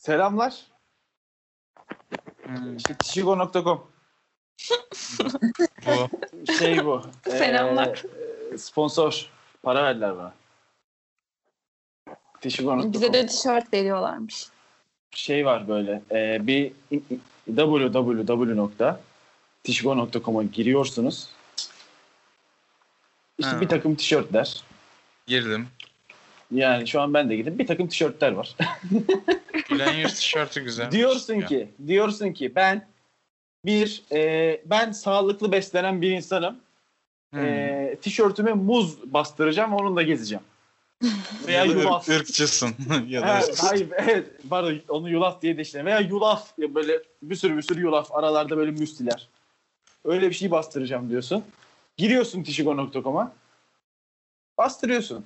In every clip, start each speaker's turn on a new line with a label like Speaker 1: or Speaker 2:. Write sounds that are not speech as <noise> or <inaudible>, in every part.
Speaker 1: Selamlar. Şey, İşte tişigo.com
Speaker 2: Bu.
Speaker 1: şey bu. Ee,
Speaker 3: <laughs> Selamlar.
Speaker 1: sponsor. Para verdiler bana. Tişigo.com.
Speaker 3: Bize de tişört veriyorlarmış.
Speaker 1: şey var böyle e, bir www.tişigo.com'a giriyorsunuz. İşte
Speaker 2: Ha.
Speaker 1: bir takım tişörtler.
Speaker 2: Girdim.
Speaker 1: Yani şu an ben de gidip bir takım tişörtler var.
Speaker 2: Gülen yüz tişörtü güzel.
Speaker 1: diyorsun
Speaker 2: şey
Speaker 1: ki, diyorsun ki ben bir e, ben sağlıklı beslenen bir insanım.
Speaker 2: Hmm.
Speaker 1: E, tişörtüme muz bastıracağım, onunla
Speaker 2: <laughs>
Speaker 1: gezeceğim. Veya
Speaker 2: ya da
Speaker 1: yulaf.
Speaker 2: ırk, ırkçısın. <laughs> ya da
Speaker 1: Evet, hayır, evet. Pardon, onu yulaf diye de işte. Veya yulaf. Ya böyle bir sürü bir sürü yulaf. Aralarda böyle müstiler. Öyle bir şey bastıracağım diyorsun. Giriyorsun tişigo.com'a. Bastırıyorsun.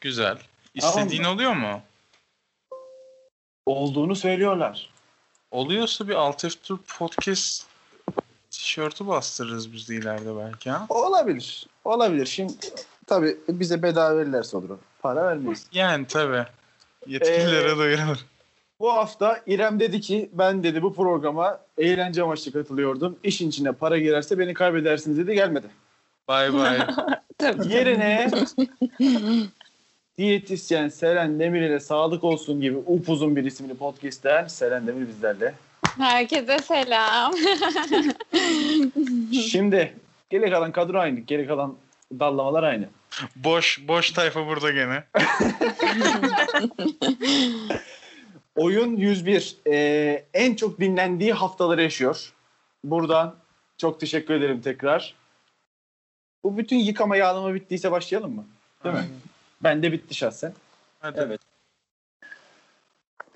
Speaker 2: güzel. İstediğin oluyor mu?
Speaker 1: Olduğunu söylüyorlar.
Speaker 2: Oluyorsa bir alt F2 podcast tişörtü bastırırız biz de ileride belki ha.
Speaker 1: Olabilir. Olabilir. Şimdi tabii bize bedava verirlerse olur. o. Para vermeyiz.
Speaker 2: Yani tabi.
Speaker 1: Ee,
Speaker 2: Yetkililere duyurulur.
Speaker 1: Bu hafta İrem dedi ki ben dedi bu programa eğlence amaçlı katılıyordum. İşin içine para girerse beni kaybedersiniz dedi gelmedi.
Speaker 2: Bay
Speaker 1: <laughs>
Speaker 2: bay.
Speaker 3: Tabii.
Speaker 1: Yerine diyetisyen Seren Demir ile sağlık olsun gibi upuzun bir isimli podcast'ten Seren Demir bizlerle.
Speaker 4: Herkese selam.
Speaker 1: Şimdi geri kalan kadro aynı. Geri kalan dallamalar aynı.
Speaker 2: boş boş tayfa burada gene.
Speaker 1: Oyun 101 e, en çok dinlendiği haftaları yaşıyor. Buradan çok teşekkür ederim tekrar. Bu bütün yıkama yağlama bittiyse başlayalım mı? Değil mi? Ben de bitti şahsen.
Speaker 2: Hadi
Speaker 1: Evet.
Speaker 5: Şey-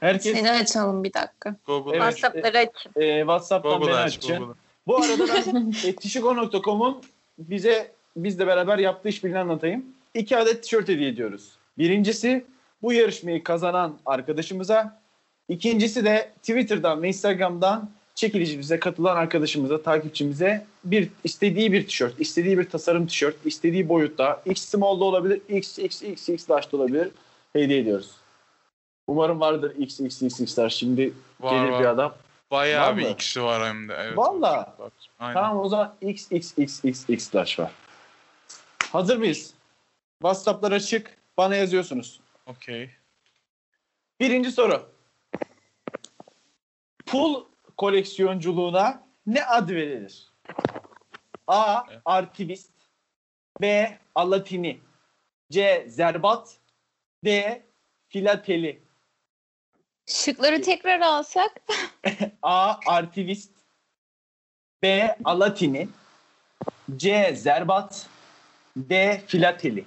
Speaker 1: Herkes
Speaker 3: Seni açalım bir dakika.
Speaker 2: Google
Speaker 1: Evet.
Speaker 2: aç.
Speaker 4: WhatsApp'ları açın.
Speaker 1: e, WhatsApp'tan beni
Speaker 2: Google aç.
Speaker 1: açın.
Speaker 2: Google.
Speaker 1: Bu arada ben e, etişigo.com'un bize bizle beraber yaptığı işbirliğini anlatayım. İki adet tişört hediye ediyoruz. Birincisi bu yarışmayı kazanan arkadaşımıza. İkincisi de Twitter'dan ve Instagram'dan çekilişimize katılan arkadaşımıza, takipçimize bir istediği bir tişört, istediği bir tasarım tişört, istediği boyutta, x small da olabilir, x x x x large da olabilir hediye ediyoruz. Umarım vardır x x x x large. Şimdi
Speaker 2: Var
Speaker 1: gelir bir
Speaker 2: var.
Speaker 1: adam.
Speaker 2: Bayağı
Speaker 1: Var
Speaker 2: bir
Speaker 1: mı?
Speaker 2: ikisi var hem de. Evet.
Speaker 1: Valla.
Speaker 2: Bak, Aynen.
Speaker 1: Tamam o zaman XXXXX slash var. Hazır mıyız? WhatsApp'lar açık. Bana yazıyorsunuz.
Speaker 2: Okey.
Speaker 1: Birinci soru. Pul koleksiyonculuğuna ne ad verilir? A.
Speaker 2: Evet.
Speaker 1: Artivist B. Alatini C. Zerbat D. Filateli
Speaker 4: Şıkları tekrar alsak.
Speaker 1: A. Artivist B. Alatini C. Zerbat D. Filateli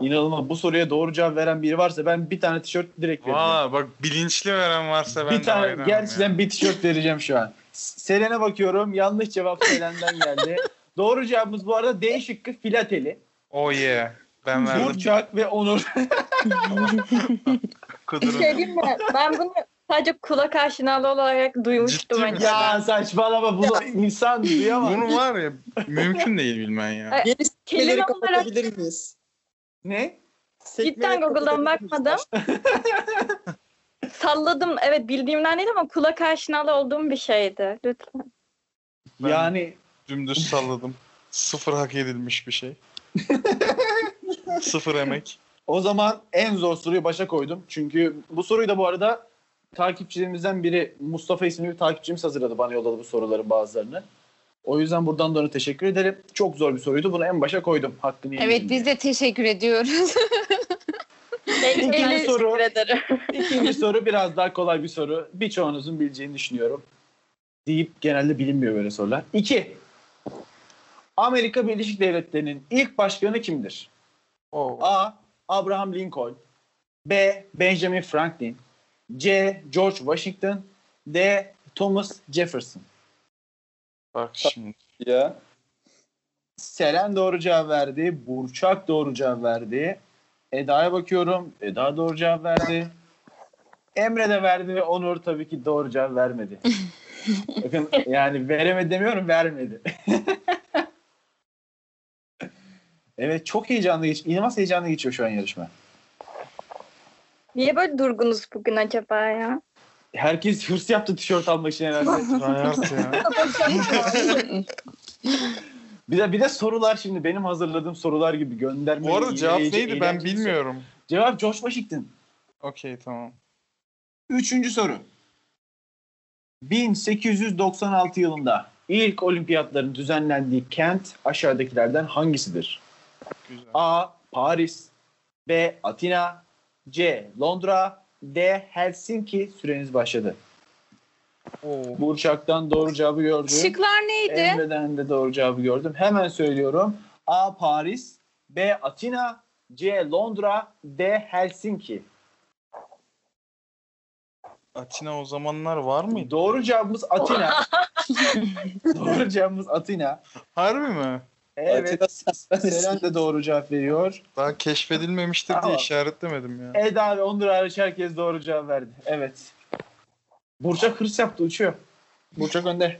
Speaker 1: İnanılmaz. Bu soruya doğru cevap veren biri varsa ben bir tane tişört direkt vereceğim.
Speaker 2: Valla bak bilinçli veren varsa ben
Speaker 1: bir
Speaker 2: de
Speaker 1: tane
Speaker 2: hayranım
Speaker 1: gerçekten
Speaker 2: ya.
Speaker 1: bir tişört vereceğim şu an. S- Selen'e bakıyorum. Yanlış cevap Selen'den geldi. doğru cevabımız bu arada D şıkkı Filateli.
Speaker 2: Oh yeah. Ben verdim.
Speaker 1: Burçak ve Onur. <laughs>
Speaker 4: Bir
Speaker 2: Kudurun.
Speaker 4: şey diyeyim mi? Ben bunu sadece kulak aşinalı olarak duymuştum hani.
Speaker 2: Ciddi misin?
Speaker 4: acaba.
Speaker 1: ya saçmalama bunu insan duyamaz.
Speaker 2: Bunu var ya mümkün değil bilmen ya.
Speaker 4: Ay,
Speaker 6: Yeni
Speaker 4: Kelime
Speaker 6: sekmeleri
Speaker 4: olarak
Speaker 6: kapatabilir miyiz?
Speaker 1: Ne?
Speaker 6: Sekmeleri
Speaker 4: Cidden Google'dan
Speaker 6: kapatabilir miyiz?
Speaker 4: bakmadım.
Speaker 1: <laughs>
Speaker 4: salladım. Evet bildiğimden değil ama kulak aşinalı olduğum bir şeydi. Lütfen.
Speaker 2: Ben-
Speaker 1: Yani
Speaker 2: Dümdüz salladım. Sıfır hak edilmiş bir şey. Sıfır emek.
Speaker 1: O zaman en zor soruyu başa koydum. Çünkü bu soruyu da bu arada takipçilerimizden biri Mustafa isimli bir takipçimiz hazırladı. Bana yolladı bu soruların bazılarını. O yüzden buradan da ona teşekkür ederim. Çok zor bir soruydu. Bunu en başa koydum.
Speaker 3: Hmm.
Speaker 1: Hakkını yemedim
Speaker 7: Evet
Speaker 1: diye.
Speaker 7: biz de teşekkür ediyoruz.
Speaker 4: Ben
Speaker 1: İkinci
Speaker 4: teşekkür
Speaker 1: soru.
Speaker 4: ederim.
Speaker 1: İkinci soru biraz daha kolay bir soru. Birçoğunuzun bileceğini düşünüyorum. Deyip genelde bilinmiyor böyle sorular. İki. Amerika Birleşik Devletleri'nin ilk başkanı kimdir?
Speaker 2: Oh.
Speaker 1: A. Abraham Lincoln. B. Benjamin Franklin. C. George Washington. D. Thomas Jefferson.
Speaker 2: Bak şimdi.
Speaker 1: Ya. Selen doğru cevap verdi. Burçak doğru cevap verdi. Eda'ya bakıyorum. Eda doğru cevap verdi. Emre de verdi ve Onur tabii ki doğru cevap vermedi. Bakın yani veremedi demiyorum vermedi. <laughs> evet çok heyecanlı geç. İnanılmaz heyecanlı geçiyor şu an yarışma.
Speaker 4: Niye böyle durgunuz bugün acaba ya?
Speaker 1: Herkes hırs yaptı tişört almak için herhalde.
Speaker 2: Hayat ya.
Speaker 1: Bir de bir de sorular şimdi benim hazırladığım sorular gibi gönderme.
Speaker 2: Bu arada cevap
Speaker 1: iyileyici,
Speaker 2: neydi ben
Speaker 1: eğlenceli
Speaker 2: bilmiyorum.
Speaker 1: soru. Cevap Josh Washington.
Speaker 2: Okey tamam.
Speaker 1: Üçüncü soru. 1896 yılında ilk olimpiyatların düzenlendiği kent aşağıdakilerden hangisidir?
Speaker 2: Güzel.
Speaker 1: A. Paris B. Atina C. Londra D. Helsinki süreniz başladı.
Speaker 2: Oo.
Speaker 1: Bu uçaktan doğru cevabı gördüm.
Speaker 3: Şıklar neydi?
Speaker 1: Emre'den de doğru cevabı gördüm. Hemen söylüyorum. A. Paris B. Atina C. Londra D. Helsinki
Speaker 2: Atina o zamanlar var mıydı?
Speaker 1: Doğru cevabımız Atina. doğru cevabımız Atina.
Speaker 2: Harbi mi?
Speaker 1: Evet. Selen de doğru cevap veriyor.
Speaker 2: Daha keşfedilmemiştir diye
Speaker 1: Tamam.
Speaker 2: işaretlemedim ya.
Speaker 1: Eda ve Onur hariç herkes doğru cevap verdi. Evet. Burçak hırs yaptı uçuyor. Burçak önde.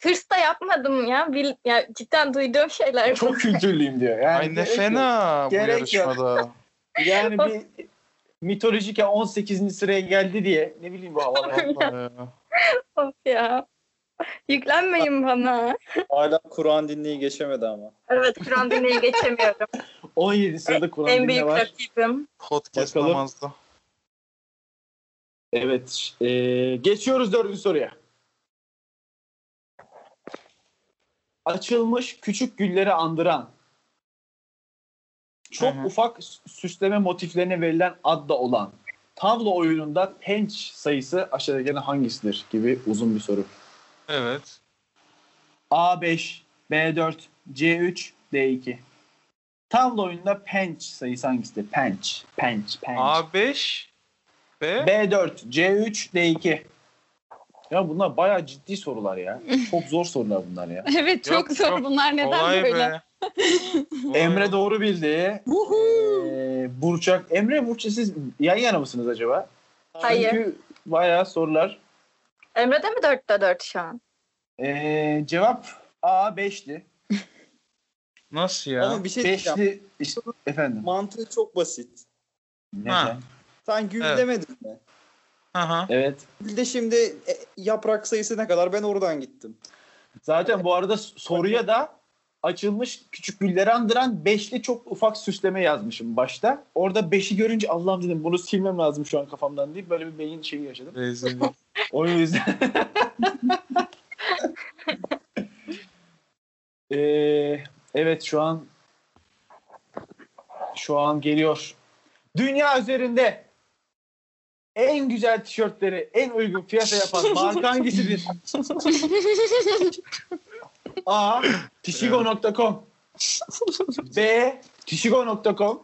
Speaker 4: Hırs da yapmadım ya. Bil, ya cidden duyduğum şeyler. bu.
Speaker 1: Çok kültürlüyüm diyor. Yani
Speaker 2: Ay ne
Speaker 1: gerek yok.
Speaker 2: fena bu
Speaker 1: Gerek yok.
Speaker 2: yarışmada.
Speaker 1: Yani bir mitolojik ya 18. sıraya geldi diye ne bileyim bu
Speaker 2: <laughs>
Speaker 1: havalar.
Speaker 2: Vallahi ya.
Speaker 4: Of ya. Yüklenmeyin bana.
Speaker 6: Hala Kur'an dinleyi geçemedi ama.
Speaker 4: Evet Kur'an dinleyi geçemiyorum.
Speaker 1: 17 sırada Kur'an
Speaker 4: en
Speaker 1: dinle
Speaker 4: büyük
Speaker 1: var.
Speaker 4: rakibim.
Speaker 2: Podcast
Speaker 1: Bakalım.
Speaker 2: namazda.
Speaker 1: Evet. eee, geçiyoruz dördüncü soruya. Açılmış küçük gülleri andıran çok
Speaker 2: Hı hı.
Speaker 1: ufak sü- süsleme motiflerine verilen adla olan tavla oyununda penç sayısı aşağıdakilerden hangisidir gibi uzun bir soru.
Speaker 2: Evet.
Speaker 1: A5, B4, C3, D2. Tavla oyununda penç sayısı hangisidir? Penç, penç, penç.
Speaker 2: A5 B.
Speaker 1: B4, C3, D2. Ya bunlar bayağı ciddi sorular ya. Çok zor sorular bunlar ya.
Speaker 3: Evet çok
Speaker 2: Yok,
Speaker 3: zor
Speaker 2: yok.
Speaker 3: bunlar neden
Speaker 2: Olay
Speaker 3: böyle?
Speaker 2: be.
Speaker 1: <laughs>
Speaker 2: Vay.
Speaker 1: Emre doğru bildi.
Speaker 3: Vuhu.
Speaker 1: Ee, Burçak. Emre Burçak siz yan yana mısınız acaba?
Speaker 4: Hayır.
Speaker 1: Çünkü bayağı sorular.
Speaker 4: Emre'de mi 4'te 4 şu an?
Speaker 1: Ee, cevap A5'ti.
Speaker 2: Nasıl ya?
Speaker 6: Ama bir şey diyeceğim.
Speaker 1: 5'ti. İşte, efendim.
Speaker 6: Mantığı çok basit.
Speaker 1: Neden?
Speaker 6: Sen gül
Speaker 2: Evet.
Speaker 6: demedin mi?
Speaker 2: Aha.
Speaker 1: Evet.
Speaker 6: Gül de şimdi e, yaprak sayısı ne kadar? Ben oradan gittim.
Speaker 1: Zaten bu arada soruya da açılmış küçük gülleri andıran beşli çok ufak süsleme yazmışım başta. Orada beşi görünce Allah'ım dedim bunu silmem lazım şu an kafamdan deyip böyle bir beyin şeyi yaşadım.
Speaker 2: Rezil. <laughs>
Speaker 1: O yüzden. Ee, evet şu an şu an geliyor. Dünya üzerinde en güzel tişörtleri en uygun fiyata yapan marka hangisidir? A. Tişigo.com B. Tişigo.com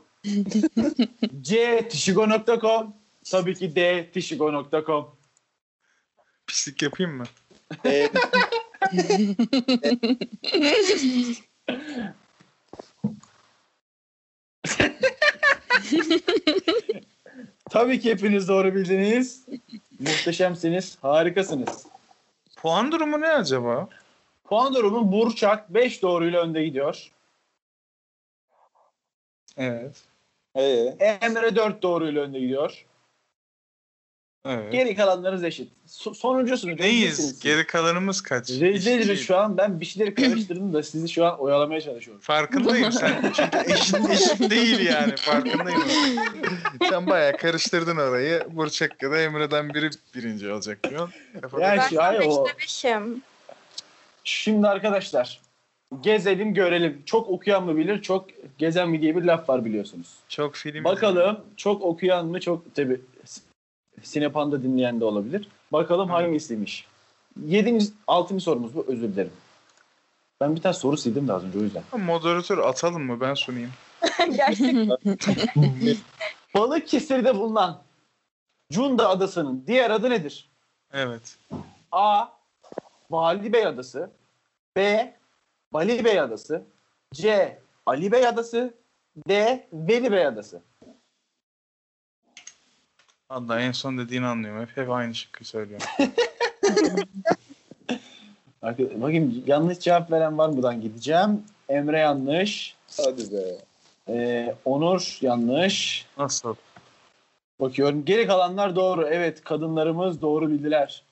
Speaker 1: C. Tişigo.com Tabii ki D. Tişigo.com
Speaker 2: Pislik yapayım mı?
Speaker 6: E,
Speaker 1: Tabii ki hepiniz doğru bildiniz. Muhteşemsiniz, harikasınız.
Speaker 2: Puan durumu ne acaba?
Speaker 1: Puan durumu Burçak 5 doğruyla önde gidiyor.
Speaker 2: Evet. Ee?
Speaker 6: e,
Speaker 1: Emre 4 doğruyla önde gidiyor.
Speaker 2: Evet.
Speaker 1: Geri kalanlarınız eşit. So- sonuncusunuz.
Speaker 2: Neyiz?
Speaker 1: rezilsiniz.
Speaker 2: Geri kalanımız kaç?
Speaker 1: Rezil
Speaker 2: Eşitiz.
Speaker 1: şu an ben bir
Speaker 2: <clears throat>
Speaker 1: şeyleri karıştırdım da sizi şu an oyalamaya çalışıyorum. <laughs>
Speaker 2: Farkındayım sen. Çünkü eşit, eşit değil yani. Farkındayım. sen bayağı karıştırdın orayı. Burçak ya da Emre'den biri birinci olacak diyor.
Speaker 1: Yani
Speaker 4: Ben
Speaker 1: şu an o-
Speaker 4: 5'te 5'im. <laughs>
Speaker 1: Şimdi arkadaşlar gezelim görelim. Çok okuyan mı bilir, çok gezen mi diye bir laf var biliyorsunuz.
Speaker 2: Çok film.
Speaker 1: Bakalım çok okuyan mı çok tabi Sinepan'da dinleyen de olabilir. Bakalım
Speaker 2: Evet.
Speaker 1: hangisiymiş. Yedinci, altıncı sorumuz bu özür dilerim. Ben bir tane soru sildim de az önce o yüzden.
Speaker 2: Moderatör atalım mı? Ben sunayım.
Speaker 4: Gerçekten.
Speaker 1: Balıkesir'de bulunan Cunda Adası'nın diğer adı nedir?
Speaker 2: Evet.
Speaker 1: A. Vali Bey Adası B. Bali Bey Adası C. Ali Bey Adası D. Veli Bey Adası
Speaker 2: Allah en son dediğini anlıyorum. Hep, hep aynı şıkkı söylüyorum.
Speaker 1: Arkadaş- Bakayım yanlış cevap veren var mı buradan gideceğim. Emre yanlış.
Speaker 6: hadi be.
Speaker 1: Ee, Onur yanlış.
Speaker 2: Nasıl?
Speaker 1: Bakıyorum. Geri kalanlar doğru. Evet kadınlarımız doğru bildiler.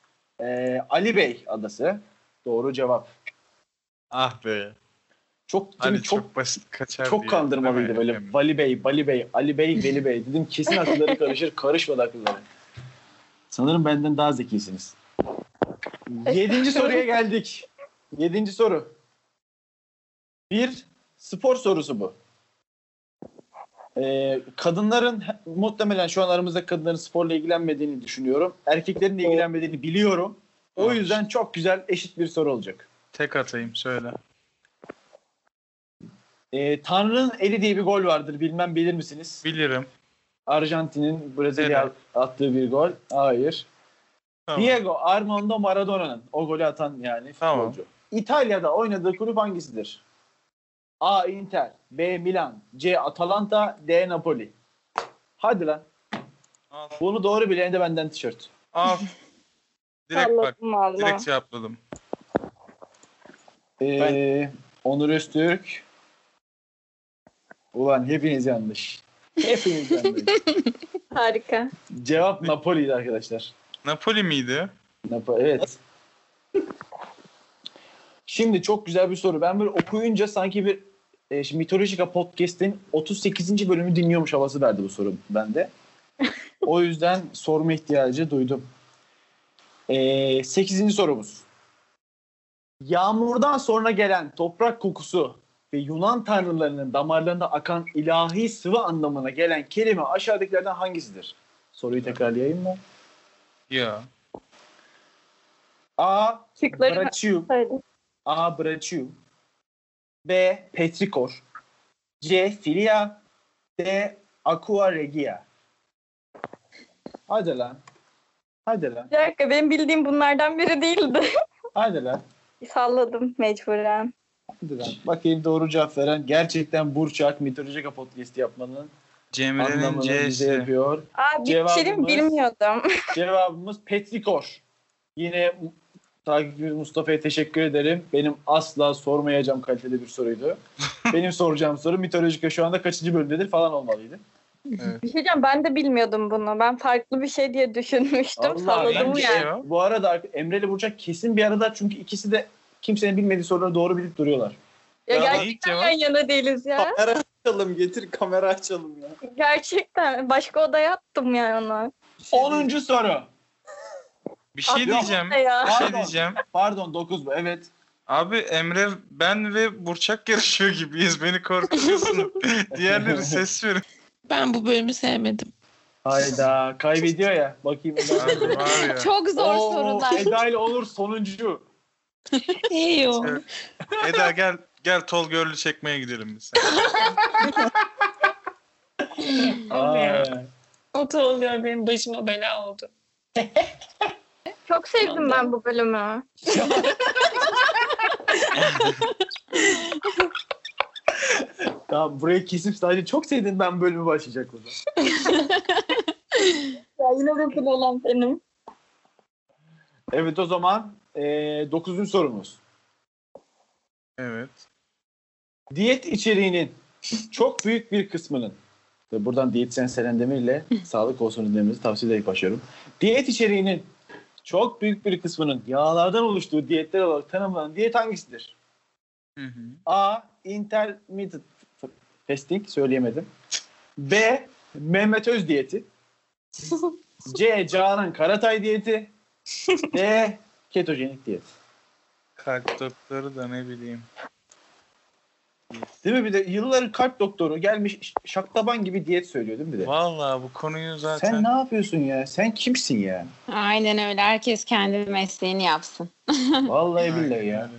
Speaker 1: Ee, Ali Bey adası. Doğru cevap.
Speaker 2: Ah be.
Speaker 1: Çok
Speaker 2: Hani
Speaker 1: çok
Speaker 2: çok, basit kaçar
Speaker 1: çok
Speaker 2: diye.
Speaker 1: kandırmalıydı
Speaker 2: Hemen
Speaker 1: böyle.
Speaker 2: hemen.
Speaker 1: Vali Bey, Vali Bey, Ali Bey, Veli Bey. Dedim kesin akılları karışır. Karışmadı akılları. Sanırım benden daha zekisiniz. Yedinci soruya geldik. Yedinci soru. Bir spor sorusu bu. Ee, kadınların muhtemelen şu an aramızda kadınların sporla ilgilenmediğini düşünüyorum. Erkeklerin de ilgilenmediğini biliyorum. O
Speaker 2: Evet.
Speaker 1: yüzden çok güzel eşit bir soru olacak.
Speaker 2: Tek atayım söyle.
Speaker 1: Ee, Tanrı'nın eli diye bir gol vardır. Bilmem bilir misiniz?
Speaker 2: Bilirim.
Speaker 1: Arjantin'in Brezilya
Speaker 2: Evet.
Speaker 1: attığı bir gol. Hayır.
Speaker 2: Tamam.
Speaker 1: Diego Armando Maradona'nın o golü atan yani
Speaker 2: Tamam.
Speaker 1: futbolcu. İtalya'da oynadığı kulüp hangisidir? A. Inter, B. Milan, C. Atalanta, D. Napoli. Hadi lan.
Speaker 2: Al.
Speaker 1: Bunu doğru bilene de benden tişört.
Speaker 2: Al. Direkt bak.
Speaker 4: Allah'ım Allah.
Speaker 2: Direkt cevapladım.
Speaker 1: Ee, Onur Öztürk. Ulan hepiniz yanlış. Hepiniz yanlış.
Speaker 2: <laughs>
Speaker 4: Harika.
Speaker 1: Cevap Napoli'ydi arkadaşlar.
Speaker 2: Napoli miydi?
Speaker 1: Napa, evet. <laughs> Şimdi çok güzel bir soru. Ben böyle okuyunca sanki bir e, şimdi Mitolojika Podcast'in 38. bölümü dinliyormuş havası verdi bu soru <laughs> bende. O yüzden sorma ihtiyacı duydum. E, 8. sorumuz. Yağmurdan sonra gelen toprak kokusu ve Yunan tanrılarının damarlarında akan ilahi sıvı anlamına gelen kelime aşağıdakilerden hangisidir? Soruyu tekrarlayayım mı?
Speaker 2: Ya.
Speaker 1: A.
Speaker 4: Şıkları
Speaker 1: Brachium.
Speaker 4: söyle.
Speaker 1: A. Brachium. B. Petrikor. C. Filia. D. Aqua regia. Hadi lan. Hadi lan.
Speaker 4: Bir dakika benim bildiğim bunlardan biri değildi. <laughs>
Speaker 1: Hadi lan.
Speaker 4: Salladım mecburen.
Speaker 1: Hadi lan. Bakayım doğru cevap veren gerçekten Burçak mitolojik podcast'i yapmanın
Speaker 2: Cemre'nin
Speaker 1: anlamını bize
Speaker 2: C'si.
Speaker 1: yapıyor.
Speaker 4: Aa bir şey diyeyim mi?
Speaker 1: Cevabımız-
Speaker 4: bilmiyordum. <laughs>
Speaker 1: Cevabımız Petrikor. Yine takipçimiz Mustafa'ya teşekkür ederim. Benim asla sormayacağım kalitede bir soruydu. Benim soracağım soru mitolojika şu anda kaçıncı bölümdedir falan olmalıydı.
Speaker 4: Bir şey diyeceğim ben de bilmiyordum bunu. Ben farklı bir şey diye düşünmüştüm.
Speaker 1: Vallahi
Speaker 4: Salladım
Speaker 1: ben
Speaker 2: Bence
Speaker 1: de-
Speaker 4: yani.
Speaker 2: ya.
Speaker 1: Bu arada Emre ile Burçak kesin bir arada çünkü ikisi de kimsenin bilmediği soruları doğru bilip duruyorlar.
Speaker 4: Ya
Speaker 6: Ya
Speaker 4: gerçekten
Speaker 2: İlk cevap.
Speaker 4: yan yana değiliz ya.
Speaker 6: Kamera açalım getir kamera açalım ya.
Speaker 4: Gerçekten. Başka odaya attım yani onu.
Speaker 6: şey
Speaker 1: 10. soru.
Speaker 2: Bir şey
Speaker 1: Yok.
Speaker 2: diyeceğim.
Speaker 4: Ne ya?
Speaker 2: Bir şey
Speaker 1: Pardon.
Speaker 2: diyeceğim.
Speaker 1: Pardon 9 bu evet.
Speaker 2: Abi Emre ben ve Burçak yarışıyor gibiyiz.
Speaker 1: <laughs>
Speaker 2: Beni korkutuyorsun. Diğerleri ses verin.
Speaker 7: Ben bu bölümü sevmedim.
Speaker 1: Hayda kaybediyor ya. <laughs> Bakayım.
Speaker 2: Abi var
Speaker 5: <laughs>
Speaker 2: ya.
Speaker 7: Çok zor
Speaker 1: Oo,
Speaker 7: sorular.
Speaker 1: Eda ile Onur sonuncu.
Speaker 7: Eyo.
Speaker 2: Evet. Eda gel gel Tol Görlü çekmeye gidelim biz.
Speaker 1: Aa,
Speaker 7: Ota oluyor benim başıma bela oldu.
Speaker 4: Çok sevdim
Speaker 7: Ondan.
Speaker 4: ben bu bölümü.
Speaker 1: tamam burayı kesip sadece çok sevdin ben bölümü başlayacak o zaman.
Speaker 4: Ya yine de kul olan benim.
Speaker 1: Evet o zaman 9. sorumuz.
Speaker 2: Evet.
Speaker 1: Diyet içeriğinin çok büyük bir kısmının ve buradan diyetisyen Selen Demir ile sağlık olsun dememizi tavsiye ederek başlıyorum. Diyet içeriğinin çok büyük bir kısmının yağlardan oluştuğu diyetler olarak tanımlanan diyet hangisidir?
Speaker 2: Hı hı.
Speaker 1: A. Intermittent fasting söyleyemedim. B. Mehmet Öz diyeti. C. Canan Karatay diyeti. D. Ketojenik diyet.
Speaker 2: Kalp doktoru da ne bileyim.
Speaker 1: Değil mi? Bir de yılların kalp doktoru gelmiş şaklaban gibi diyet söylüyor değil mi bir de?
Speaker 2: Vallahi bu konuyu zaten
Speaker 1: Sen ne yapıyorsun ya? Sen kimsin
Speaker 5: <laughs>
Speaker 1: ya?
Speaker 5: Aynen öyle. Herkes kendi mesleğini yapsın.
Speaker 1: Vallahi
Speaker 2: Aynen
Speaker 1: billahi ya.
Speaker 2: öyle.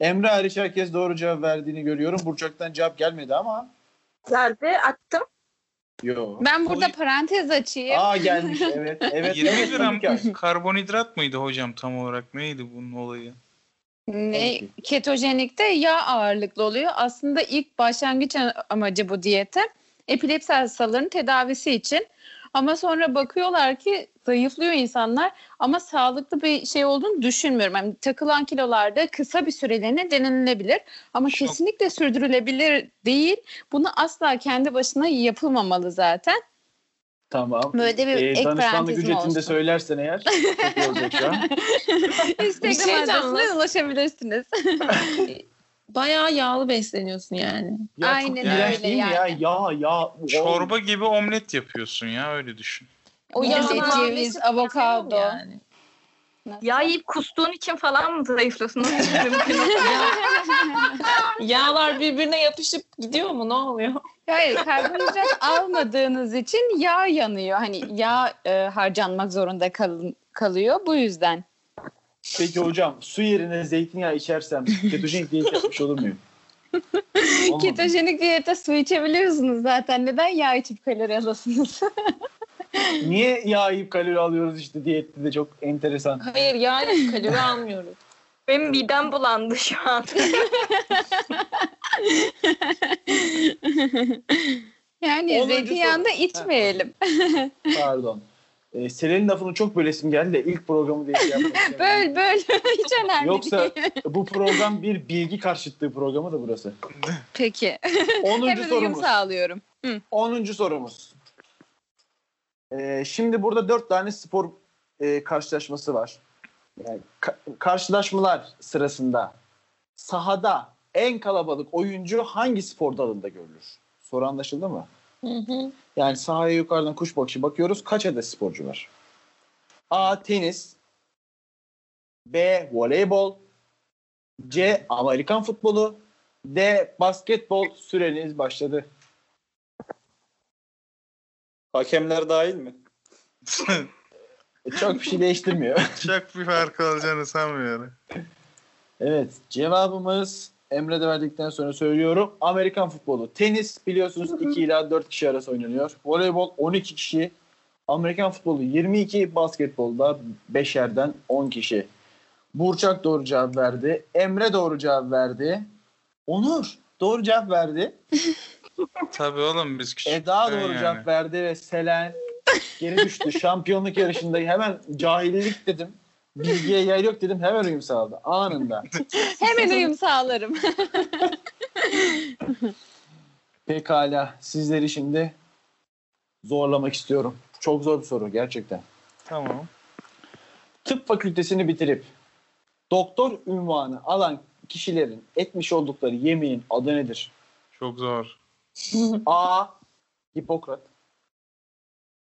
Speaker 1: Emre hariç herkes doğru cevap verdiğini görüyorum. Burçak'tan cevap gelmedi ama.
Speaker 4: Geldi attım.
Speaker 1: Yo.
Speaker 5: Ben burada
Speaker 2: Oy.
Speaker 5: parantez açayım.
Speaker 1: Aa
Speaker 5: <laughs>
Speaker 1: gelmiş evet. Evet.
Speaker 2: 20
Speaker 1: evet,
Speaker 2: gram
Speaker 1: hikaye.
Speaker 2: karbonhidrat mıydı hocam tam olarak? Neydi bunun olayı?
Speaker 5: Ne
Speaker 1: Peki.
Speaker 5: ketojenikte yağ ağırlıklı oluyor. Aslında ilk başlangıç amacı bu diyete epilepsi hastalarının tedavisi için. Ama sonra bakıyorlar ki zayıflıyor insanlar ama sağlıklı bir şey olduğunu düşünmüyorum. Yani takılan kilolarda kısa bir süreliğine denenilebilir ama
Speaker 2: Şok.
Speaker 5: kesinlikle sürdürülebilir değil. Bunu asla kendi başına yapılmamalı zaten.
Speaker 1: Tamam. Ee,
Speaker 5: Böyle bir ek
Speaker 1: danışmanlık
Speaker 5: parantezim
Speaker 1: ücretini de
Speaker 5: olsun.
Speaker 1: söylersen eğer çok iyi olacak
Speaker 5: <laughs>
Speaker 1: şu an.
Speaker 7: <laughs> Bir şey
Speaker 5: Instagram adresine
Speaker 7: canlı.
Speaker 5: ulaşabilirsiniz.
Speaker 7: Bayağı yağlı besleniyorsun yani.
Speaker 1: Ya
Speaker 5: Aynen
Speaker 1: çok iğrenç
Speaker 5: öyle
Speaker 1: değil mi ya?
Speaker 5: yani.
Speaker 1: Ya ya.
Speaker 2: Çorba gibi omlet yapıyorsun ya öyle düşün.
Speaker 5: O
Speaker 7: Ya,
Speaker 5: yüzden ceviz, avokado.
Speaker 7: Yani.
Speaker 4: Yağ yiyip kustuğun için falan mı zayıflıyorsun? Onu mümkün değil.
Speaker 5: <laughs>
Speaker 7: Yağlar birbirine yapışıp gidiyor mu? Ne oluyor?
Speaker 5: Hayır karbonhidrat almadığınız için yağ yanıyor. Hani yağ e, harcanmak zorunda kalın, kalıyor bu yüzden.
Speaker 1: Peki hocam su yerine zeytinyağı
Speaker 5: <laughs>
Speaker 1: içersem ketojenik diyet yapmış olur muyum? Olmaz mı?
Speaker 5: Ketojenik diyette su içebiliyorsunuz zaten. Neden yağ içip kalori alasınız?
Speaker 1: Niye yağ yiyip kalori alıyoruz işte diyette de çok enteresan.
Speaker 7: <laughs> Hayır yağ yok, <laughs> kalori almıyoruz.
Speaker 4: Benim midem bulandı şu an.
Speaker 5: <laughs> yani
Speaker 1: Onuncu
Speaker 5: zeytinyağını içmeyelim.
Speaker 1: Pardon. Ee, Selen'in lafını çok bölesim geldi de ilk programı diye şey yapmak istemiyorum.
Speaker 5: Böl böl. <laughs> Hiç önemli
Speaker 1: Yoksa
Speaker 5: değil.
Speaker 1: bu program bir bilgi karşıtlığı programı da burası.
Speaker 5: Peki.
Speaker 1: 10.
Speaker 5: Hemen uyum
Speaker 1: sorumuz.
Speaker 5: sağlıyorum.
Speaker 1: 10. sorumuz. Ee, şimdi burada 4 tane spor e, karşılaşması var. Yani ka- karşılaşmalar sırasında sahada en kalabalık oyuncu hangi spor dalında görülür? Soru anlaşıldı mı?
Speaker 7: Hı hı.
Speaker 1: Yani sahaya yukarıdan kuş bakışı bakıyoruz. Kaç adet sporcu var? A. Tenis B. Voleybol C. Amerikan futbolu D. Basketbol süreniz başladı.
Speaker 6: Hakemler dahil mi?
Speaker 1: E, Çok bir şey değiştirmiyor.
Speaker 2: Çok bir fark olacağını sanmıyorum.
Speaker 1: Evet cevabımız Emre de verdikten sonra söylüyorum. Amerikan futbolu. Tenis biliyorsunuz 2 ila 4 kişi arası oynanıyor. Voleybol 12 kişi. Amerikan futbolu 22. Basketbolda 5'erden 10 kişi. Burçak doğru cevap verdi. Emre doğru cevap verdi. Onur doğru cevap verdi.
Speaker 2: Tabii oğlum biz küçük.
Speaker 1: Eda doğru cevap verdi ve Selen geri düştü. Şampiyonluk yarışında hemen cahillik dedim. Bilgiye yer yok dedim. Hemen uyum sağladı. Anında.
Speaker 5: Hemen uyum sağlarım.
Speaker 1: Pekala. Sizleri şimdi zorlamak istiyorum. Çok zor bir soru gerçekten.
Speaker 2: Tamam.
Speaker 1: Tıp fakültesini bitirip doktor ünvanı alan kişilerin etmiş oldukları yemeğin adı nedir?
Speaker 2: Çok zor.
Speaker 1: A. Hipokrat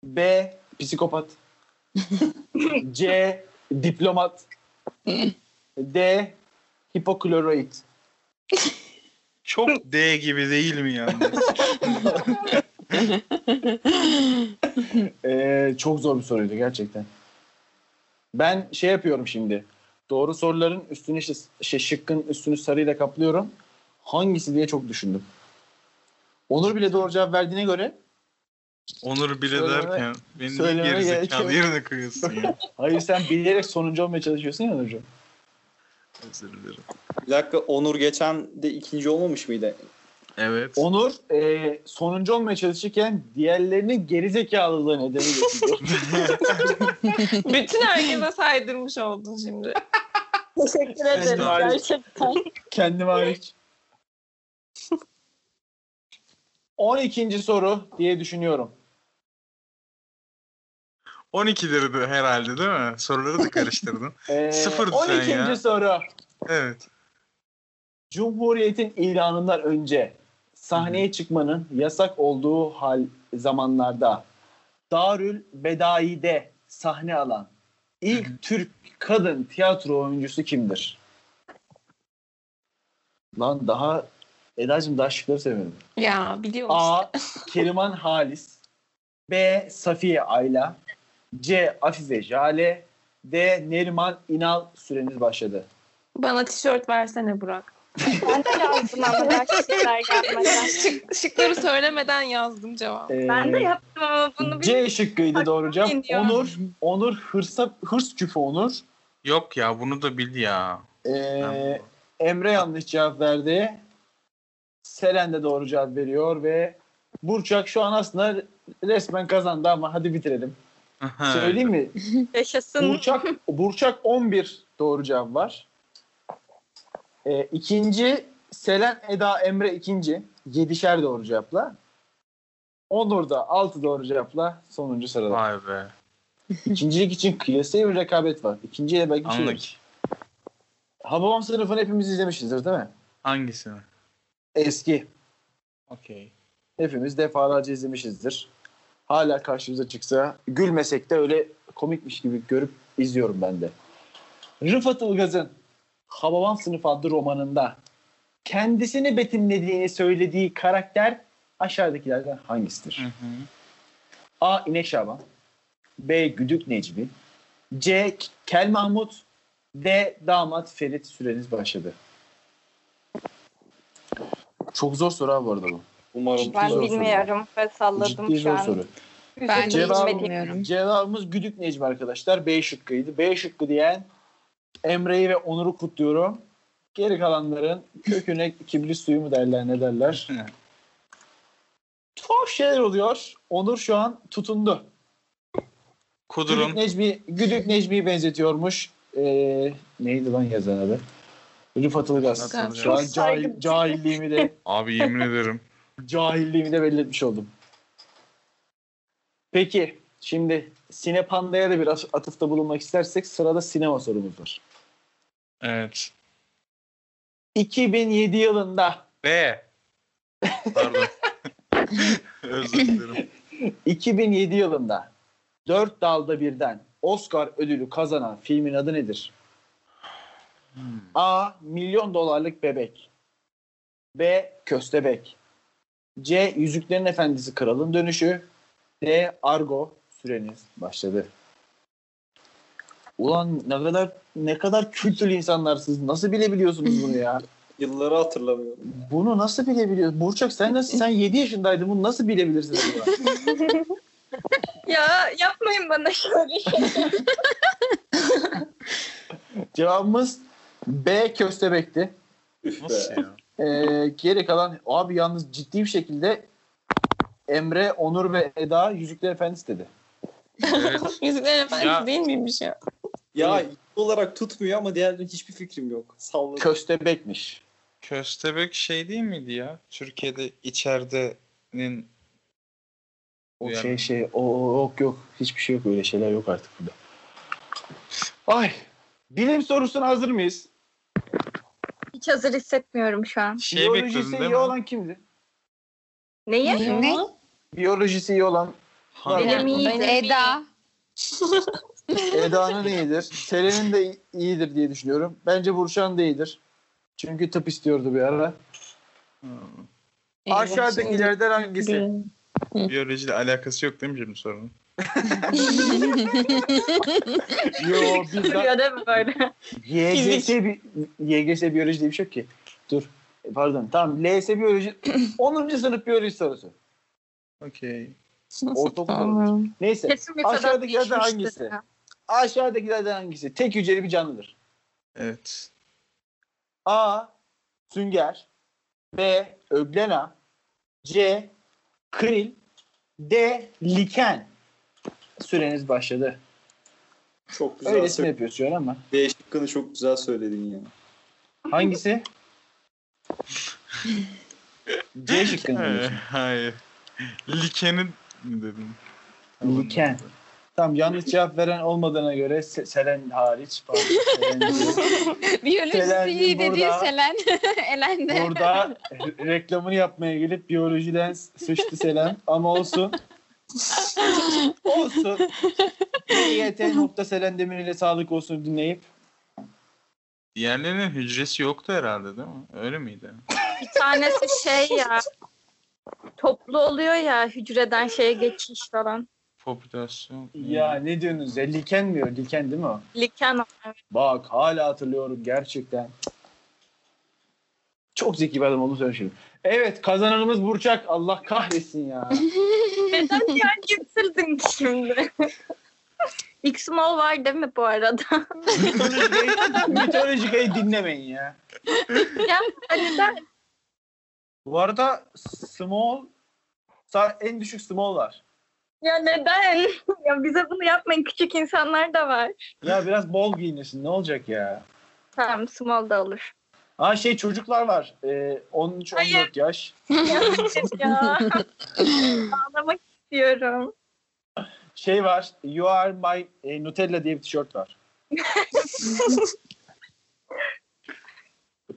Speaker 1: B. Psikopat C. Diplomat D. Hipokloroid <laughs>
Speaker 2: Çok D gibi değil mi yani?
Speaker 1: Ee, çok zor bir soruydu gerçekten. Ben şey yapıyorum şimdi. Doğru soruların üstünü işte şey, şıkkın üstünü sarıyla kaplıyorum. Hangisi diye çok düşündüm. Onur bile doğru cevap verdiğine göre
Speaker 2: Onur bile
Speaker 1: Söyleme-
Speaker 2: derken beni niye
Speaker 1: söylememe gerek
Speaker 2: gerizekalı
Speaker 1: yok.
Speaker 2: yerine koyuyorsun
Speaker 1: <laughs>
Speaker 2: ya?
Speaker 1: hayır sen bilerek sonuncu olmaya çalışıyorsun ya Onurcuğum.
Speaker 2: Özür dilerim.
Speaker 6: Bir dakika Onur geçen de ikinci olmamış mıydı?
Speaker 2: Evet.
Speaker 1: Onur e, sonuncu olmaya çalışırken diğerlerinin gerizekalılığı nedeni getiriyor. <laughs>
Speaker 7: Bütün herkese saydırmış oldun şimdi.
Speaker 4: Teşekkür
Speaker 1: ederim, Estağfurullah.
Speaker 4: gerçekten.
Speaker 1: Kendim hariç. 12. soru diye düşünüyorum.
Speaker 2: 12'dir de herhalde değil mi? Soruları
Speaker 1: <laughs>
Speaker 2: da karıştırdın.
Speaker 1: Ee,
Speaker 2: Sıfırdı sen
Speaker 1: 12.
Speaker 2: ya.
Speaker 1: soru.
Speaker 2: Evet.
Speaker 1: Cumhuriyet'in ilanından önce sahneye çıkmanın yasak olduğu hal zamanlarda Darül Bedai'de sahne alan ilk Türk kadın tiyatro oyuncusu kimdir? Lan daha Eda'cığım daha şıkları seviyorum.
Speaker 7: Ya biliyorum.
Speaker 1: A. Keriman Halis B. Safiye Ayla C. Afife Jale D. Neriman İnal süreniz başladı.
Speaker 7: Bana tişört versene Burak.
Speaker 4: <laughs> Ben de yazdım ama <laughs> gerçekten gelmeden.
Speaker 7: Şık, şıkları söylemeden yazdım cevabı.
Speaker 4: Ben de
Speaker 1: Ee,
Speaker 4: yaptım ama bunu bir
Speaker 1: C şıkkıydı doğru cevap.
Speaker 4: Aklım iniyor.
Speaker 1: Onur, Onur hırsa, hırs küfü Onur.
Speaker 2: Yok ya bunu da bil ya.
Speaker 1: Ee, Emre yanlış cevap verdi. Selen de doğru cevap veriyor ve Burçak şu an aslında resmen kazandı ama hadi bitirelim.
Speaker 2: Aha.
Speaker 1: Söyleyeyim mi?
Speaker 4: yaşasın.
Speaker 1: Burçak, Burçak 11 doğru cevap var. Ee, ikinci Selen, Eda, Emre ikinci. Yedişer doğru cevapla. Onur da 6 doğru cevapla sonuncu sırada.
Speaker 2: Vay be.
Speaker 1: İkincilik için kıyasaya bir rekabet var. İkinciye belki bir şey
Speaker 2: Anladık.
Speaker 1: yok. Hababam sınıfını hepimiz izlemişizdir değil mi?
Speaker 2: Hangisini?
Speaker 1: Eski.
Speaker 2: Okey.
Speaker 1: Hepimiz defalarca izlemişizdir. Hala karşımıza çıksa gülmesek de öyle komikmiş gibi görüp izliyorum ben de. Rıfat Ilgaz'ın Hababam Sınıfı adlı romanında kendisini betimlediğini söylediği karakter aşağıdakilerden hangisidir?
Speaker 2: Hı hı.
Speaker 1: A. İnek Şaban B. Güdük Necmi C. Kel Mahmut D. Damat Ferit süreniz başladı. Çok zor soru abi bu arada bu.
Speaker 6: Umarım.
Speaker 1: Zor
Speaker 4: Ben
Speaker 1: soru.
Speaker 4: bilmiyorum ve salladım
Speaker 1: Ciddi
Speaker 4: şu
Speaker 1: zor
Speaker 4: an.
Speaker 1: soru.
Speaker 5: <laughs> Ben de
Speaker 1: Cevabı-
Speaker 5: hiç bilmiyorum.
Speaker 1: Cevabımız Güdük Necmi arkadaşlar. B şıkkıydı. B şıkkı diyen Emre'yi ve Onur'u kutluyorum. Geri kalanların köküne kibrit suyu mu derler ne <laughs> derler.
Speaker 2: Hı.
Speaker 1: Tuhaf şeyler oluyor. Onur şu an tutundu. Güdük
Speaker 2: Kudurun.
Speaker 1: Necmi, Güdük Necmi'yi benzetiyormuş. Ee, neydi lan yazan adı? Rıfat Ilgaz.
Speaker 2: Rıfat
Speaker 1: Şu an
Speaker 4: Ilgaz.
Speaker 1: cahil, cahilliğimi <laughs> de
Speaker 2: Abi yemin ederim.
Speaker 1: cahilliğimi de belli etmiş oldum. Peki şimdi Sinepanda'ya da biraz atıfta bulunmak istersek sırada sinema sorumuz var.
Speaker 2: Evet.
Speaker 1: 2007 yılında
Speaker 2: B. Pardon. <laughs> Özür dilerim.
Speaker 1: 2007 yılında Dört Dalda Birden Oscar ödülü kazanan filmin adı nedir? A. Milyon Dolarlık Bebek B. Köstebek C. Yüzüklerin Efendisi Kralın Dönüşü D. Argo Süreniz başladı. Ulan ne kadar ne kadar kültürlü insanlarsınız. Nasıl bilebiliyorsunuz bunu ya?
Speaker 6: Yılları hatırlamıyorum.
Speaker 1: Bunu nasıl bilebiliyorsun? Burçak sen nasıl sen 7 yaşındaydın. Bunu nasıl bilebilirsin acaba?
Speaker 4: Ya yapmayın bana şöyle şey.
Speaker 1: Cevabımız B köstebekti.
Speaker 2: Nasıl ya?
Speaker 1: Ee, geri kalan abi yalnız ciddi bir şekilde Emre, Onur ve Eda Yüzükler Efendisi dedi.
Speaker 2: Evet.
Speaker 7: Yüzüklerin Efendisi
Speaker 2: Ya.
Speaker 7: değil miymiş ya?
Speaker 6: Ya olarak tutmuyor ama diğerlerinin hiçbir fikrim yok. Salladım.
Speaker 1: Köstebekmiş.
Speaker 2: Köstebek şey değil miydi ya? Türkiye'de içeridenin
Speaker 1: O
Speaker 2: Yani-
Speaker 1: şey şey o, o yok yok hiçbir şey yok öyle şeyler yok artık burada. Ay bilim sorusuna hazır mıyız?
Speaker 4: Hiç hazır hissetmiyorum şu an.
Speaker 2: şey bekliyordun
Speaker 1: Biyolojisi
Speaker 2: değil
Speaker 1: iyi
Speaker 2: mi?
Speaker 1: olan kimdi?
Speaker 4: Neyi?
Speaker 5: Ne?
Speaker 1: Biyolojisi iyi olan
Speaker 2: Hangi
Speaker 1: Benim
Speaker 2: konu?
Speaker 4: iyi.
Speaker 5: Eda.
Speaker 1: Eda'nın iyidir. Seren'in de iyidir diye düşünüyorum. Bence Burçan da iyidir. Çünkü tıp istiyordu bir ara.
Speaker 2: Hmm.
Speaker 1: Aşağıdakilerden hangisi?
Speaker 7: Değil.
Speaker 2: Biyolojiyle alakası yok değil mi şimdi sorunun?
Speaker 1: Yo bizden
Speaker 4: Duruyor değil mi böyle?
Speaker 1: YGS, bi- YGS biyoloji diye bir şey yok ki. Dur. E, Pardon. Tamam. LS biyoloji <clears throat> 10. sınıf biyoloji sorusu.
Speaker 2: Okey.
Speaker 1: Ortaokul
Speaker 7: Tamam.
Speaker 1: sorusu. Neyse.
Speaker 4: <laughs> Kesin bir kadar
Speaker 1: Aşağıdakilerden
Speaker 4: değişmiştir.
Speaker 1: hangisi? Aşağıdakilerden hangisi? Tek hücreli bir canlıdır.
Speaker 2: Evet.
Speaker 1: A. Sünger. B. Öglena. C. Kril. D. Liken. Süreniz başladı.
Speaker 6: Çok güzel.
Speaker 1: Öylesine
Speaker 6: söyledin.
Speaker 1: yapıyoruz şu an ama.
Speaker 6: D şıkkını çok güzel söyledin ya.
Speaker 1: Hangisi? C şıkkını
Speaker 2: Ee,
Speaker 1: diyorsun.
Speaker 2: Hayır. Likenin mi dedim?
Speaker 1: Liken. Tamam yanlış cevap veren olmadığına göre Se- Selen hariç. pardon, Selen değil. Selen
Speaker 5: Biyolojisi iyi
Speaker 1: burada.
Speaker 5: dediği Selen. <laughs> Elen de.
Speaker 1: Burada re- reklamını yapmaya gelip biyolojiden sıçtı Selen ama olsun. olsun. YT.Selen Demir ile sağlık olsun dinleyip
Speaker 2: Diğerlerinin hücresi yoktu herhalde değil mi? Öyle miydi?
Speaker 4: Bir tanesi şey ya. Toplu oluyor ya hücreden şeye geçiş falan.
Speaker 2: Popülasyon.
Speaker 1: ya ne diyorsunuz ya liken diyor liken değil mi o?
Speaker 4: Liken o.
Speaker 1: Bak hala hatırlıyorum gerçekten. Çok zeki bir adam olduğunu söylemişim. Evet kazananımız Burçak. Allah kahretsin ya.
Speaker 4: <laughs> Neden yani getirdin ki şimdi? X-Mall var değil mi bu arada?
Speaker 1: Mitolojikayı, mitolojikayı dinlemeyin ya.
Speaker 4: ya hani ben
Speaker 1: Bu arada small sa- en düşük small var.
Speaker 4: ya neden? ya bize bunu yapmayın. Küçük insanlar da var.
Speaker 1: Ya biraz bol giyinirsin ne olacak ya.
Speaker 4: Tamam small da olur.
Speaker 1: Ha şey çocuklar var. Ee, 13-14
Speaker 4: Hayır.
Speaker 1: yaş.
Speaker 4: Yanlış <laughs> ya. Ağlamak istiyorum.
Speaker 1: Şey var. You are my e, Nutella diye bir tişört
Speaker 4: <laughs>
Speaker 1: var.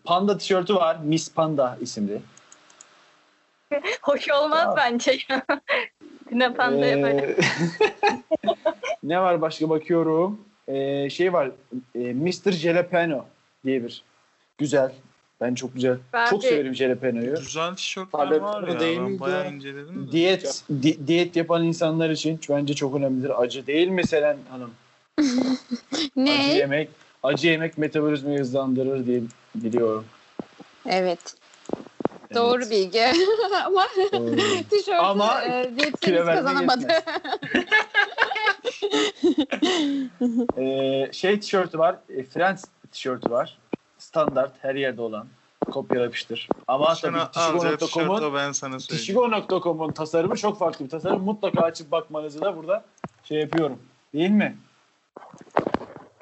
Speaker 1: Panda tişörtü var. Miss Panda isimli.
Speaker 4: Hoş olmaz
Speaker 1: Ya.
Speaker 4: bence ya. Güne pandaya böyle.
Speaker 1: Ee, <laughs> ne var başka bakıyorum. Ee, şey var. E, Mr. Jalapeno diye bir. Güzel. Ben çok güzel.
Speaker 4: Ben
Speaker 1: çok
Speaker 4: bir-
Speaker 1: severim jalapeno'yu.
Speaker 2: Güzel tişörtler
Speaker 6: Tabii,
Speaker 2: var ya.
Speaker 6: değil
Speaker 2: Ben
Speaker 6: miydi
Speaker 2: bayağı
Speaker 6: ya?
Speaker 2: inceledim de.
Speaker 1: Diyet di- diyet yapan insanlar için bence çok önemlidir. Acı değil mi Selen Hanım? Acı
Speaker 5: Ne?
Speaker 1: yemek acı yemek metabolizmayı hızlandırır diye biliyorum.
Speaker 5: Evet. Doğru bilgi. <laughs> Ama
Speaker 1: Doğru.
Speaker 5: tişörtü
Speaker 1: Ama
Speaker 5: e,
Speaker 1: kilo
Speaker 5: diyetisyeniz
Speaker 1: vermeye
Speaker 5: kazanamadı. <laughs>
Speaker 1: Ee, şey tişörtü var. E, Friends tişörtü var. Standart her yerde olan. Kopya yapıştır. Ama
Speaker 2: Sen
Speaker 1: tabii
Speaker 2: alacağı tişört
Speaker 1: Tişigo.com'un
Speaker 2: o ben sana söyleyeyim.
Speaker 1: Tişigo.com'un tasarımı çok farklı bir tasarım. Mutlaka açıp bakmanızı da burada şey yapıyorum. Değil mi?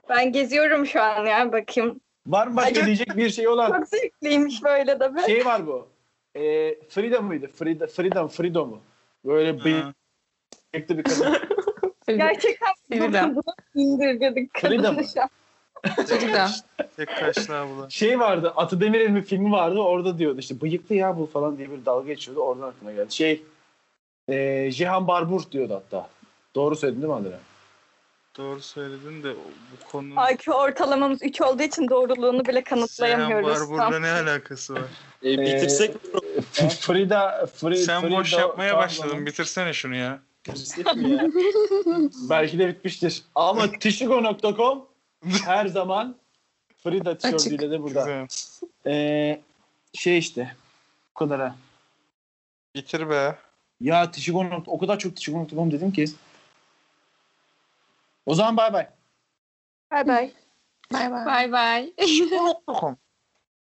Speaker 4: Ben geziyorum şu an ya bakayım.
Speaker 1: Var mı başka
Speaker 4: Acı-
Speaker 1: diyecek bir şey olan?
Speaker 4: Çok zevkliymiş böyle de be.
Speaker 1: Şey var bu. E, Frida mıydı? Frida, Frida mı? Frido mu? Böyle
Speaker 2: Ha.
Speaker 1: bıyıklı bir kadın.
Speaker 4: Gerçekten <laughs>
Speaker 7: Frida.
Speaker 4: bunu indirgedik
Speaker 1: Frida mı?
Speaker 4: kadını şu an.
Speaker 7: Çocuk da.
Speaker 2: Tek kaşlığa bulan.
Speaker 1: Şey vardı. Atı Demirel'in bir filmi vardı. Orada diyordu işte bıyıklı ya bu falan diye bir dalga geçiyordu. Oradan aklıma geldi. Şey e, Cihan Barbur diyordu hatta. Doğru söyledim değil mi Adile?
Speaker 2: Doğru söyledin de bu konunun
Speaker 4: IQ ortalamamız 3 olduğu için doğruluğunu bile kanıtlayamıyoruz.
Speaker 2: Sen Barbur'la ne alakası var?
Speaker 6: E, bitirsek mi?
Speaker 1: F- e, Frida, Fri,
Speaker 2: Sen
Speaker 1: Frida
Speaker 2: boş yapmaya
Speaker 1: Kahlo-
Speaker 2: başladın. Bitirsene şunu ya.
Speaker 6: Bitirsek mi ya?
Speaker 1: Belki de bitmiştir. Ama tişigo.com her zaman Frida tişörtüyle de burada.
Speaker 2: Güzel.
Speaker 1: E, şey işte bu kadar ha.
Speaker 2: Bitir be.
Speaker 1: Ya Tişigo. O kadar çok Tişigo.com dedim ki. O zaman bay bay.
Speaker 4: Bay bay.
Speaker 7: Bay bay.
Speaker 5: Bay bay.
Speaker 2: Bakalım.